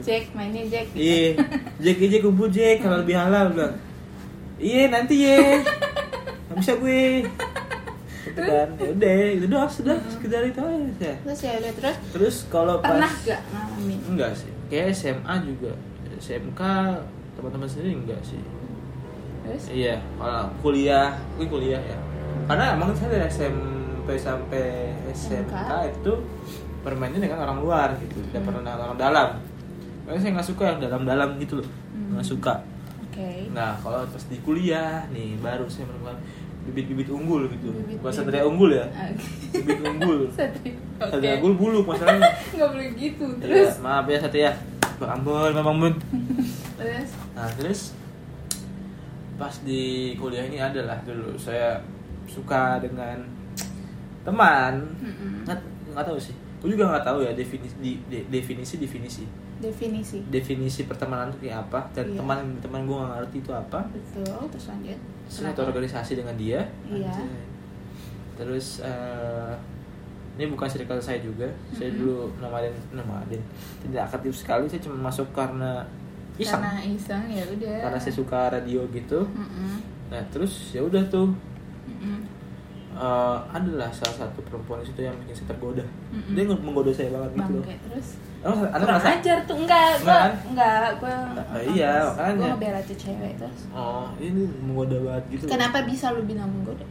Speaker 2: Jack mainnya Jack
Speaker 3: Iya, Jack aja kumpul Jack kalau lebih halal bilang. Iya nanti ya, nggak bisa gue. Gitu kan, ya udah, itu doang sudah sekedar itu aja.
Speaker 2: terus ya udah terus
Speaker 3: Terus kalau pas
Speaker 2: pernah gak ngalamin
Speaker 3: enggak sih, kayak SMA juga, SMK teman-teman sendiri enggak sih.
Speaker 2: terus
Speaker 3: Iya, kalau kuliah, mungkin kuliah ya. Karena emang saya dari SMP sampai SMK itu bermainnya dengan orang luar gitu, tidak
Speaker 2: Hmm.
Speaker 3: pernah dengan orang dalam. Karena saya nggak suka yang dalam-dalam gitu loh, nggak suka.
Speaker 2: Hmm. oke
Speaker 3: Nah, kalau pas di kuliah nih baru saya menemukan bibit-bibit unggul gitu
Speaker 2: Bibit-bibit. Ah,
Speaker 3: bukan satria unggul ya
Speaker 2: Oke.
Speaker 3: bibit unggul
Speaker 2: Satria. Oke.
Speaker 3: satria unggul bulu masalahnya
Speaker 2: Nggak boleh gitu.
Speaker 3: Iya,
Speaker 2: Terus.
Speaker 3: maaf ya satria bang ambon bang ambon
Speaker 2: Terus.
Speaker 3: Nah terus pas di kuliah ini adalah dulu saya suka dengan teman
Speaker 2: Mm-mm.
Speaker 3: nggak nggak tahu sih aku juga nggak tahu ya definisi di- de- definisi definisi
Speaker 2: Definisi.
Speaker 3: definisi pertemanan itu kayak apa dan
Speaker 2: Iya.
Speaker 3: teman teman gue nggak ngerti itu apa
Speaker 2: Betul. Terus lanjut.
Speaker 3: satu organisasi dengan dia
Speaker 2: Iya.
Speaker 3: Anjay. terus eh, ini bukan circle saya juga saya
Speaker 2: Mhm.
Speaker 3: dulu nomaden nomaden tidak aktif sekali saya cuma masuk karena iseng
Speaker 2: Karena iseng ya udah.
Speaker 3: karena saya suka radio gitu
Speaker 2: Mm-mm.
Speaker 3: nah terus ya udah tuh
Speaker 2: Mm-mm.
Speaker 3: Gitu. eh, adalah salah satu perempuan itu yang bikin saya tergoda
Speaker 2: Mm-mm.
Speaker 3: dia nge- menggoda saya banget gitu loh Oh,
Speaker 2: Bangke. Terus.
Speaker 3: emang anda
Speaker 2: Kurang
Speaker 3: Anu ngerasa
Speaker 2: ajar tuh enggak gua
Speaker 3: Enggak kan?
Speaker 2: enggak gua
Speaker 3: Ah, iya, makanya.
Speaker 2: gua ngebela tuh cewek terus
Speaker 3: oh ini menggoda banget gitu loh.
Speaker 2: kenapa bisa lu bilang menggoda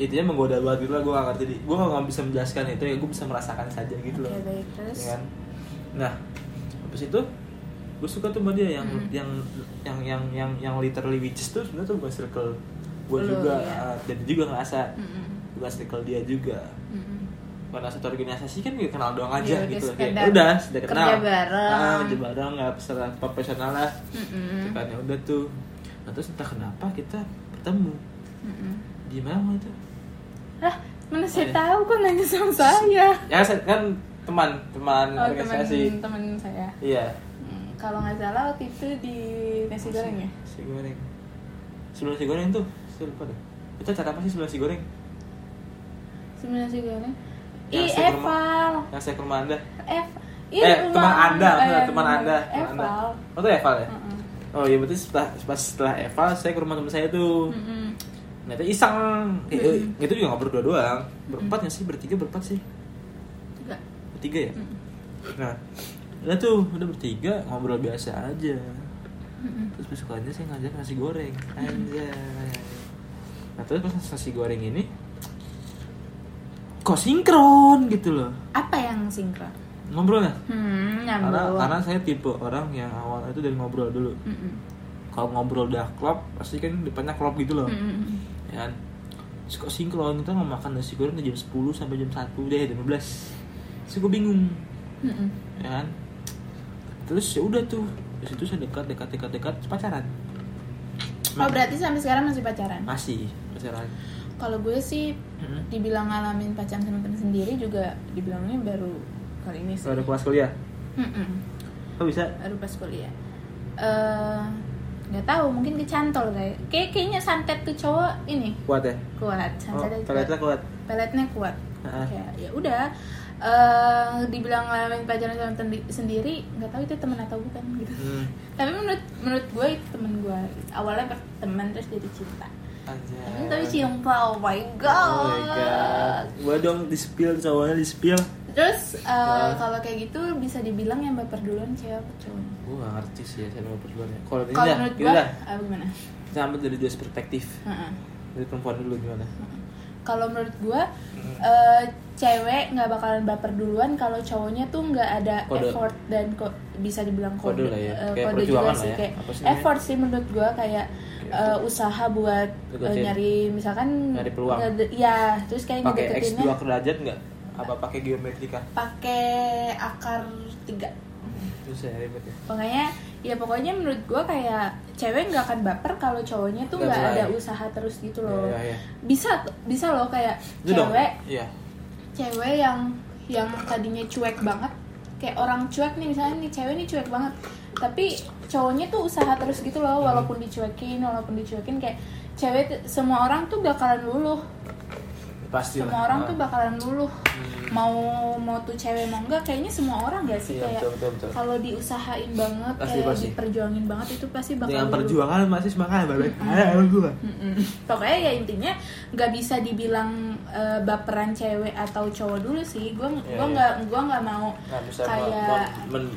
Speaker 3: intinya menggoda banget gitu lah gue gak ngerti gue gak bisa menjelaskan itu ya gue bisa merasakan saja gitu loh
Speaker 2: Oke, baik Iya, terus
Speaker 3: Ya kan? nah habis itu gue suka tuh sama dia yang
Speaker 2: Hmm.
Speaker 3: yang yang yang yang yang literally witches tuh sebenarnya tuh bukan circle gue
Speaker 2: Lu,
Speaker 3: juga
Speaker 2: iya. Mm.
Speaker 3: ah, dan dia juga ngerasa
Speaker 2: Mm-mm.
Speaker 3: bukan circle dia juga
Speaker 2: Mm-mm.
Speaker 3: karena satu organisasi kan ya kenal doang aja
Speaker 2: Ya udah,
Speaker 3: gitu loh.
Speaker 2: sekedar
Speaker 3: Kayak, udah sudah
Speaker 2: kerja
Speaker 3: kenal
Speaker 2: bareng.
Speaker 3: ah, kerja bareng nggak secara profesional lah
Speaker 2: Mm-mm.
Speaker 3: Gitu kan ya udah tuh nah, terus entah kenapa kita ketemu
Speaker 2: Mm-mm.
Speaker 3: di mana tuh
Speaker 2: Hah, mana saya
Speaker 3: Ada.
Speaker 2: tahu kok nanya sama saya.
Speaker 3: ya saya- kan teman teman
Speaker 2: Oh,
Speaker 3: organisasi
Speaker 2: teman-teman saya.
Speaker 3: iya
Speaker 2: Hmm, Kalau nggak salah waktu itu di nasi goreng ya.
Speaker 3: si goreng sebelum si goreng tuh saya lupa deh itu acara apa sih sebelum si goreng
Speaker 2: Sebelum nasi goreng.
Speaker 3: Yang
Speaker 2: Ih,
Speaker 3: saya ke
Speaker 2: Eval.
Speaker 3: yang saya ke rumah anda
Speaker 2: F. Ih,
Speaker 3: eh
Speaker 2: rumah
Speaker 3: teman anda maksudnya
Speaker 2: eh,
Speaker 3: teman anda teman
Speaker 2: Eval.
Speaker 3: anda
Speaker 2: Hmm.
Speaker 3: oh itu Eval ya
Speaker 2: Mm-mm.
Speaker 3: oh iya berarti setelah pas setelah Eval saya ke rumah teman saya tuh
Speaker 2: Mm-mm.
Speaker 3: Nah itu iseng Kayak, eh,
Speaker 2: Mm-mm.
Speaker 3: Itu juga gak berdua doang Berempat gak sih? Bertiga berempat sih?
Speaker 2: Juga.
Speaker 3: Bertiga ya?
Speaker 2: Mm-mm.
Speaker 3: Nah Udah tuh Udah bertiga Ngobrol biasa aja
Speaker 2: Mm-mm.
Speaker 3: Terus besokannya saya ngajak nasi goreng Anjay Nah terus pas nasi goreng ini Kok sinkron gitu loh
Speaker 2: Apa yang sinkron?
Speaker 3: Ngobrolnya
Speaker 2: Hmm,
Speaker 3: karena,
Speaker 2: nyambung.
Speaker 3: karena saya tipe orang yang awal itu dari ngobrol dulu
Speaker 2: Mm-mm.
Speaker 3: Kalau ngobrol udah klop Pasti kan depannya klop gitu loh
Speaker 2: Mm-mm.
Speaker 3: ya kan Terus kok sinkron kita mau makan nasi goreng dari jam 10 sampai jam 1 deh jam 12 terus gue bingung
Speaker 2: Mm-mm.
Speaker 3: ya kan terus ya udah tuh di situ saya dekat dekat dekat dekat pacaran
Speaker 2: Oh, berarti sampai sekarang masih pacaran?
Speaker 3: masih pacaran
Speaker 2: Kalau gue sih
Speaker 3: Mm-mm.
Speaker 2: dibilang ngalamin pacaran sama temen sendiri juga dibilangnya baru kali ini sih.
Speaker 3: Kalau ada kelas kuliah
Speaker 2: Mm-mm.
Speaker 3: kok bisa
Speaker 2: baru pas kuliah eh nggak tahu mungkin kecantol kayak kayak kayaknya santet tuh cowok ini
Speaker 3: kuat ya
Speaker 2: kuat
Speaker 3: oh
Speaker 2: santetnya kuat.
Speaker 3: ternyata kuat
Speaker 2: peletnya kuat
Speaker 3: Ah.
Speaker 2: kayak ya udah eh dibilang ngalamin pacaran sama tendi- sendiri nggak tahu itu teman atau bukan gitu
Speaker 3: hmm.
Speaker 2: tapi menurut menurut gue itu teman gue awalnya berteman terus jadi cinta
Speaker 3: Anjay.
Speaker 2: Tapi- tapi cinta oh my god,
Speaker 3: Oh my god, Boleh dong di spill cowoknya di spill.
Speaker 2: terus eh,
Speaker 3: Ah.
Speaker 2: kalau kayak gitu bisa dibilang yang baper duluan cewek apa cowok
Speaker 3: Gue gak ngerti sih ya saya mau berdua ya. Kalau ini
Speaker 2: kalau
Speaker 3: dah,
Speaker 2: menurut
Speaker 3: gitu
Speaker 2: gue
Speaker 3: dah.
Speaker 2: ah, gimana
Speaker 3: Kita ambil dari dua perspektif
Speaker 2: Heeh.
Speaker 3: dari perempuan dulu gimana?
Speaker 2: kalau menurut gue
Speaker 3: Mm.
Speaker 2: eh, cewek nggak bakalan baper duluan kalau cowoknya tuh nggak ada
Speaker 3: Kode.
Speaker 2: effort dan kok bisa dibilang kode,
Speaker 3: Kode lah ya,
Speaker 2: eh, kode
Speaker 3: kayak
Speaker 2: juga
Speaker 3: perjuangan lah
Speaker 2: sih
Speaker 3: ya.
Speaker 2: kayak
Speaker 3: Apa sih namanya?
Speaker 2: effort sih menurut gue kayak eh, usaha buat eh,
Speaker 3: Deketin.
Speaker 2: nyari misalkan
Speaker 3: Nyari peluang.
Speaker 2: ngede- ya terus kayak
Speaker 3: pakai x
Speaker 2: ngedeketinnya
Speaker 3: 2 derajat nggak apa pakai geometrika
Speaker 2: pakai akar tiga
Speaker 3: itu saya ribet ya
Speaker 2: pokoknya ya pokoknya menurut gue kayak cewek nggak akan baper kalau cowoknya tuh
Speaker 3: Nggak
Speaker 2: nggak ada
Speaker 3: berani.
Speaker 2: usaha terus gitu loh
Speaker 3: Iya, iya, iya.
Speaker 2: bisa bisa loh kayak
Speaker 3: itu dong
Speaker 2: cewek
Speaker 3: iya
Speaker 2: cewek yang yang tadinya cuek banget kayak orang cuek nih misalnya nih cewek nih cuek banget tapi cowoknya tuh usaha terus gitu
Speaker 3: Hmm.
Speaker 2: loh walaupun dicuekin walaupun dicuekin kayak cewek tuh- semua orang tuh bakalan luluh
Speaker 3: pasti Ah.
Speaker 2: semua orang
Speaker 3: Hmm.
Speaker 2: tuh bakalan luluh mau mau tuh cewek mau enggak kayaknya semua orang gak sih
Speaker 3: Iya,
Speaker 2: kayak
Speaker 3: betul, betul, betul.
Speaker 2: kalau diusahain banget
Speaker 3: Pasti,
Speaker 2: kayak
Speaker 3: pasti.
Speaker 2: diperjuangin banget itu pasti bakal Hmm.
Speaker 3: dengan
Speaker 2: luluh.
Speaker 3: perjuangan masih semangat baik ada emang gua
Speaker 2: Mm-mm. Pokoknya ya intinya nggak bisa dibilang eh, baperan cewek atau cowok dulu sih. Gue
Speaker 3: Iya,
Speaker 2: gua
Speaker 3: iya.
Speaker 2: nggak gua nggak mau
Speaker 3: nggak Nah, bisa
Speaker 2: kayak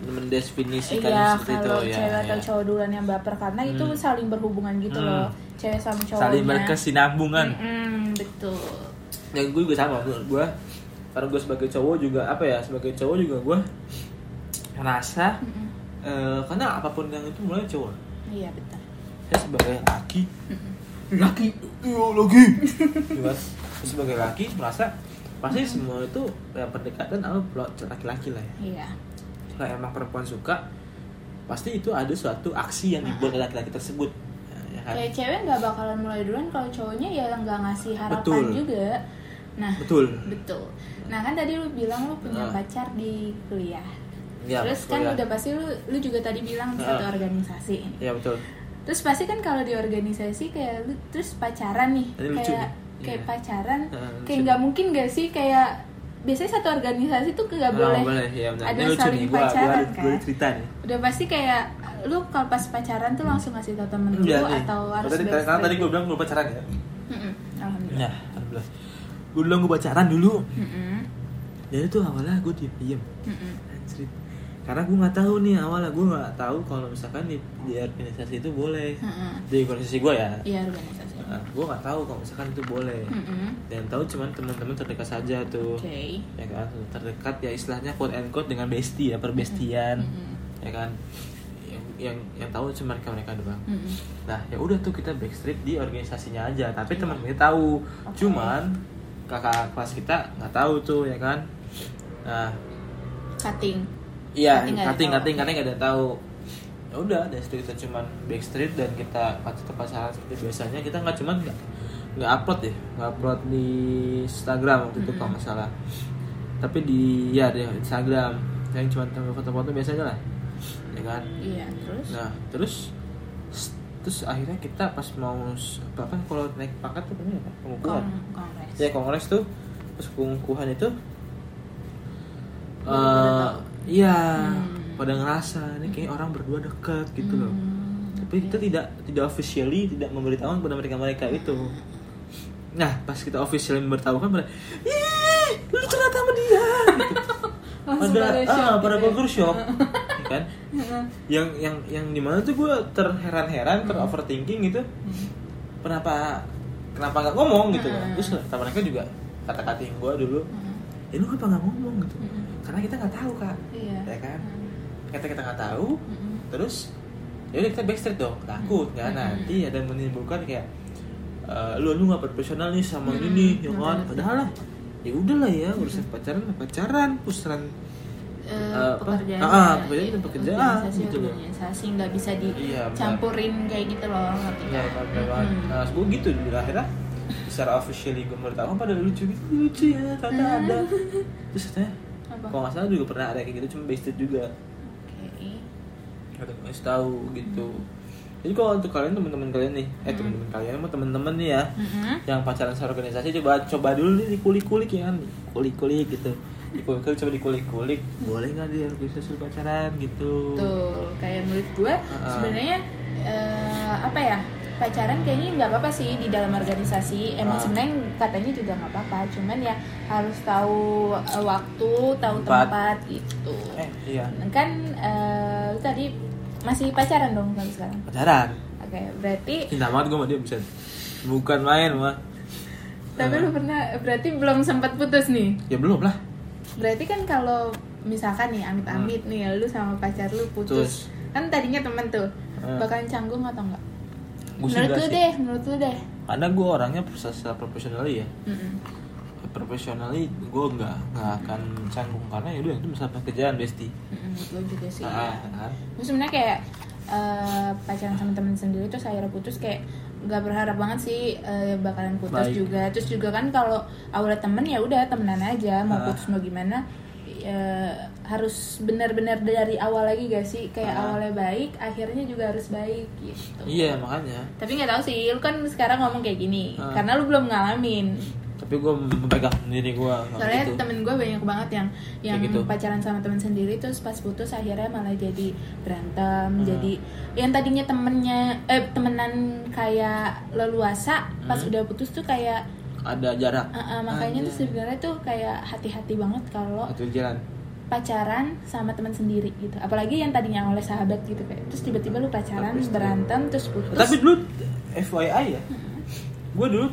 Speaker 3: mendefinisikan
Speaker 2: iya
Speaker 3: seperti itu
Speaker 2: kalau
Speaker 3: ya,
Speaker 2: cewek atau
Speaker 3: ya.
Speaker 2: cowok duluan yang baper karena itu
Speaker 3: Hmm.
Speaker 2: saling berhubungan gitu
Speaker 3: Hmm.
Speaker 2: loh. Cewek sama cowoknya.
Speaker 3: saling berkesinambungan
Speaker 2: Hmm, Mm-mm, betul. hmm.
Speaker 3: dan gue juga sama menurut gue karena gue sebagai cowok juga apa ya sebagai cowok juga gue ngerasa
Speaker 2: Mm-mm.
Speaker 3: eh, karena apapun yang itu mulai cowok
Speaker 2: Iya betul.
Speaker 3: saya sebagai laki laki iya lagi Ya kan? Terus sebagai laki merasa pasti semua itu ya, pendekatan sama plot laki-laki lah ya
Speaker 2: Iya.
Speaker 3: kalau emang perempuan suka pasti itu ada suatu aksi yang dibuat oleh laki-laki tersebut ya kan?
Speaker 2: Kayak cewek nggak bakalan mulai duluan kalau cowoknya ya nggak ngasih harapan
Speaker 3: Betul.
Speaker 2: juga. Nah,
Speaker 3: betul
Speaker 2: betul. Nah kan tadi lu bilang lu punya
Speaker 3: Ah.
Speaker 2: pacar di kuliah.
Speaker 3: ya,
Speaker 2: Terus kan
Speaker 3: betul, ya.
Speaker 2: udah pasti lu lu juga tadi bilang
Speaker 3: Ah.
Speaker 2: satu organisasi ini.
Speaker 3: ya betul
Speaker 2: Terus pasti kan kalau di organisasi kayak lu terus pacaran nih,
Speaker 3: Ini lucu
Speaker 2: kayak
Speaker 3: nih.
Speaker 2: kayak
Speaker 3: Iya.
Speaker 2: pacaran,
Speaker 3: Ah,
Speaker 2: kayak
Speaker 3: lucu.
Speaker 2: nggak mungkin gak sih kayak biasanya satu organisasi tuh nggak
Speaker 3: Ah,
Speaker 2: boleh,
Speaker 3: ya, benar.
Speaker 2: ada
Speaker 3: Ini lucu
Speaker 2: saling
Speaker 3: nih, gua, gua,
Speaker 2: pacaran
Speaker 3: gua,
Speaker 2: kan.
Speaker 3: cerita nih
Speaker 2: udah pasti kayak lu kalau pas pacaran tuh langsung ngasih tau temen lu
Speaker 3: Enggak Iya, nih.
Speaker 2: atau harus Iya.
Speaker 3: tadi,
Speaker 2: best
Speaker 3: karena tadi
Speaker 2: friend?
Speaker 3: gue bilang gue pacaran ya
Speaker 2: Mm-mm, alhamdulillah
Speaker 3: ya alhamdulillah gue bilang gue pacaran dulu
Speaker 2: Mm-mm,
Speaker 3: jadi tuh awalnya gue diem diem
Speaker 2: mm-mm.
Speaker 3: anjrit karena gue nggak tahu nih awalnya gue nggak tahu kalau misalkan di, di organisasi itu boleh
Speaker 2: Mm-mm.
Speaker 3: di organisasi gue ya
Speaker 2: Hmm. iya organisasi
Speaker 3: Nah, gue nggak tahu kalau misalkan itu boleh
Speaker 2: Mm-mm.
Speaker 3: dan tahu cuman teman-teman terdekat saja tuh
Speaker 2: oke
Speaker 3: ya kan terdekat ya istilahnya quote and quote dengan bestie ya perbestian
Speaker 2: Mm-mm,
Speaker 3: ya kan yang yang yang tahu cuma mereka mereka doang
Speaker 2: mm-mm.
Speaker 3: Nah, ya udah tuh kita backstreet di organisasinya aja, tapi teman kita tahu.
Speaker 2: Iya. Oke.
Speaker 3: Cuman kakak kelas kita nggak tahu tuh ya kan. Nah,
Speaker 2: cutting
Speaker 3: iya
Speaker 2: Kating nggak ada
Speaker 3: kating
Speaker 2: yang
Speaker 3: kating
Speaker 2: tahu.
Speaker 3: kating nggak ada yang tahu. Ya udah, dari situ kita cuman backstreet dan kita pacar pacaran seperti biasanya. Kita nggak cuman nggak nggak upload ya, nggak upload di Instagram waktu itu kalau nggak salah. Tapi di ya di Instagram yang cuman foto-foto biasanya lah, ya kan.
Speaker 2: iya terus
Speaker 3: Nah, terus terus akhirnya kita pas mau bahkan kalau naik pangkat tuh namanya apa? Pengukuhan.
Speaker 2: Kong- kongres
Speaker 3: Ya kongres tuh pas pengukuhan itu
Speaker 2: Baru pada
Speaker 3: eh iya
Speaker 2: Hmm.
Speaker 3: pada ngerasa ini kayak orang berdua deket gitu loh.
Speaker 2: Hmm,
Speaker 3: Tapi kita tidak tidak officially tidak memberitahukan kepada mereka-mereka itu. Nah, pas kita officially memberitahukan pada "Ih, lu ternyata sama dia." Gitu.
Speaker 2: langsung
Speaker 3: pada
Speaker 2: pada
Speaker 3: ah,
Speaker 2: shock gitu ya.
Speaker 3: pada
Speaker 2: Iya.
Speaker 3: culture shock. Ya kan? yang yang yang dimana tuh gue
Speaker 2: Mm-hmm.
Speaker 3: terheran-heran ter overthinking gitu kenapa kenapa nggak ngomong gitu kan
Speaker 2: Hmm.
Speaker 3: terus kata mereka juga kata-katain gue dulu
Speaker 2: Hmm,
Speaker 3: ya lu kenapa nggak ngomong gitu
Speaker 2: Hmm.
Speaker 3: karena kita nggak tahu kak
Speaker 2: iya
Speaker 3: ya kan
Speaker 2: Hmm,
Speaker 3: kata kita nggak tahu
Speaker 2: mm-mm.
Speaker 3: terus ya udah kita backstreet dong takut kan
Speaker 2: Hmm.
Speaker 3: nanti ada menimbulkan kayak eh, lu lu nggak profesional nih sama
Speaker 2: Hmm.
Speaker 3: ini ya kan
Speaker 2: Bener.
Speaker 3: padahal lah ya udahlah ya urusan pacaran pacaran urusan
Speaker 2: Eh,
Speaker 3: apa?
Speaker 2: pekerjaan
Speaker 3: Ah, ah,
Speaker 2: ya,
Speaker 3: pekerjaan
Speaker 2: iya,
Speaker 3: dan pekerjaan,
Speaker 2: organisasi
Speaker 3: gitu loh.
Speaker 2: organisasi nggak bisa
Speaker 3: Iya, benar.
Speaker 2: dicampurin kayak gitu loh ngerti
Speaker 3: Iya,
Speaker 2: kan?
Speaker 3: bener banget.
Speaker 2: Mm-mm.
Speaker 3: Nah, gue gitu di akhirnya secara officially gue beritahu pada lucu gitu lucu ya ternyata
Speaker 2: Hmm.
Speaker 3: ada terus katanya
Speaker 2: Apa?
Speaker 3: kalau nggak salah juga pernah ada kayak gitu cuma based juga
Speaker 2: Oke.
Speaker 3: kata gue "Ngasih tahu gitu
Speaker 2: Hmm.
Speaker 3: jadi kalau untuk kalian teman-teman kalian nih eh teman-teman kalian mau teman-teman nih ya
Speaker 2: Mm-mm.
Speaker 3: yang pacaran secara organisasi coba coba dulu nih dikulik-kulik ya kan kulik-kulik gitu dikulik-kulik coba dikulik-kulik boleh nggak di organisasi pacaran gitu
Speaker 2: Tuh, kayak menurut gue
Speaker 3: Ah.
Speaker 2: sebenarnya eh, apa ya? Pacaran kayaknya nggak apa-apa sih di dalam organisasi. Emang
Speaker 3: Ah.
Speaker 2: sebenarnya katanya juga nggak apa-apa, cuman ya harus tahu eh, waktu, tahu
Speaker 3: Tempat.
Speaker 2: tempat, gitu.
Speaker 3: eh iya
Speaker 2: Kan eh, lu tadi masih pacaran dong sampai sekarang.
Speaker 3: pacaran
Speaker 2: Oke, berarti
Speaker 3: cinta banget gue sama dia bisa bukan main mah Eh,
Speaker 2: tapi lu pernah berarti belum sempat putus nih.
Speaker 3: ya belum lah
Speaker 2: Berarti kan kalau misalkan nih amit-amit
Speaker 3: Hmm.
Speaker 2: nih lu sama pacar lu putus. Kan tadinya temen tuh.
Speaker 3: Hmm.
Speaker 2: Bakalan canggung atau enggak?
Speaker 3: gue sih
Speaker 2: menurut
Speaker 3: enggak
Speaker 2: lu
Speaker 3: sih
Speaker 2: deh, menurut lu deh.
Speaker 3: karena gue orangnya secara profesional ya
Speaker 2: Mm-mm.
Speaker 3: profesional gue nggak nggak akan canggung karena ya udah itu masalah kerjaan besti
Speaker 2: Mm-mm, menurut lu juga sih.
Speaker 3: ah,
Speaker 2: ya.
Speaker 3: kan
Speaker 2: Terus sebenarnya kayak eh, pacaran sama temen sendiri terus akhirnya putus kayak nggak berharap banget sih eh, bakalan putus
Speaker 3: Baik.
Speaker 2: juga. Terus juga kan kalau awalnya temen ya udah temenan aja mau
Speaker 3: Ah.
Speaker 2: putus mau gimana eh, harus benar-benar dari awal lagi gak sih kayak
Speaker 3: Ah.
Speaker 2: awalnya baik akhirnya juga harus baik gitu.
Speaker 3: iya makanya
Speaker 2: Tapi nggak tahu sih, lu kan sekarang ngomong kayak gini
Speaker 3: Ah.
Speaker 2: karena lu belum ngalamin.
Speaker 3: tapi gue memegang sendiri gue
Speaker 2: Soalnya
Speaker 3: gitu
Speaker 2: temen gue banyak banget yang yang
Speaker 3: gitu.
Speaker 2: pacaran sama temen sendiri terus pas putus akhirnya malah jadi berantem,
Speaker 3: Hmm.
Speaker 2: jadi yang tadinya temennya eh temenan kayak leluasa, pas udah putus tuh kayak
Speaker 3: ada jarak
Speaker 2: eh, eh, makanya tuh
Speaker 3: Hmm. Anjay.
Speaker 2: sebenarnya tuh kayak hati-hati banget kalau
Speaker 3: satu jalan
Speaker 2: pacaran sama teman sendiri gitu. Apalagi yang tadinya oleh sahabat gitu kayak terus tiba-tiba lu pacaran
Speaker 3: Tapi-
Speaker 2: berantem terus putus.
Speaker 3: tapi dulu FYI ya gue dulu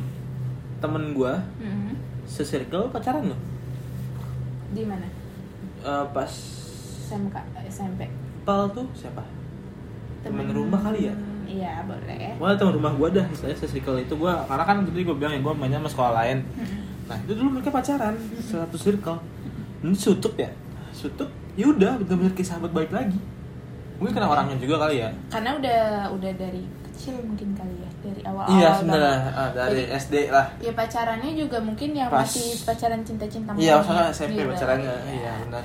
Speaker 3: temen gue
Speaker 2: Mm-mm.
Speaker 3: sesirkel pacaran loh
Speaker 2: Hmm. di mana?
Speaker 3: Eh, pas
Speaker 2: SMK, SMP.
Speaker 3: pal tuh siapa temen rumah kali ya?
Speaker 2: Iya, boleh.
Speaker 3: Wah teman rumah gue dah istilahnya circle itu gue karena kan tadi gue bilang ya gue mainnya sama sekolah lain. Nah itu dulu mereka pacaran satu circle. Ini sutup ya, sutup. Ya udah bener-bener kayak sahabat baik lagi. Mungkin karena orangnya juga kali ya.
Speaker 2: Karena udah udah dari kecil mungkin kali ya, dari awal awal.
Speaker 3: Iya sebenarnya ah, dari SD lah.
Speaker 2: Ya pacarannya juga mungkin yang
Speaker 3: Pas.
Speaker 2: masih pacaran cinta-cinta
Speaker 3: Iya
Speaker 2: monyet
Speaker 3: masalah SMP
Speaker 2: gitu.
Speaker 3: pacarannya. Mm-hmm. Iya benar.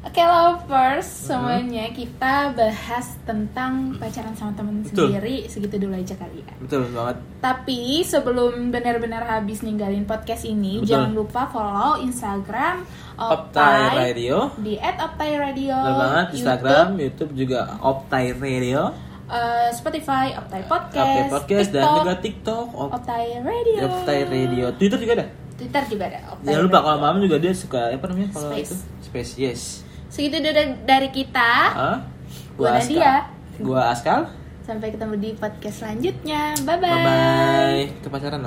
Speaker 2: Oke lovers, semuanya kita bahas tentang pacaran sama temen
Speaker 3: Betul.
Speaker 2: sendiri segitu dulu aja kali ya.
Speaker 3: Betul banget.
Speaker 2: Tapi sebelum benar-benar habis ninggalin podcast ini,
Speaker 3: Betul.
Speaker 2: jangan lupa follow Instagram
Speaker 3: Optai
Speaker 2: Optai
Speaker 3: Radio.
Speaker 2: di @optairadio.
Speaker 3: Betul banget Instagram, YouTube juga Optai Radio,
Speaker 2: eh, Spotify, Optai Podcast,
Speaker 3: Optai Podcast dan
Speaker 2: TikTok,
Speaker 3: juga TikTok Op-
Speaker 2: Optai Radio.
Speaker 3: Optai Radio. Twitter juga ada.
Speaker 2: Twitter juga ada. Optai
Speaker 3: Jangan lupa
Speaker 2: Radio.
Speaker 3: kalau malam juga dia suka apa namanya kalau
Speaker 2: Space.
Speaker 3: itu space yes.
Speaker 2: Segitu dulu dari kita.
Speaker 3: Hah?
Speaker 2: Gua
Speaker 3: Askal.
Speaker 2: Nadia.
Speaker 3: Gua Askal.
Speaker 2: Sampai ketemu di podcast selanjutnya. Bye
Speaker 3: Bye
Speaker 2: bye.
Speaker 3: bye. Kita pacaran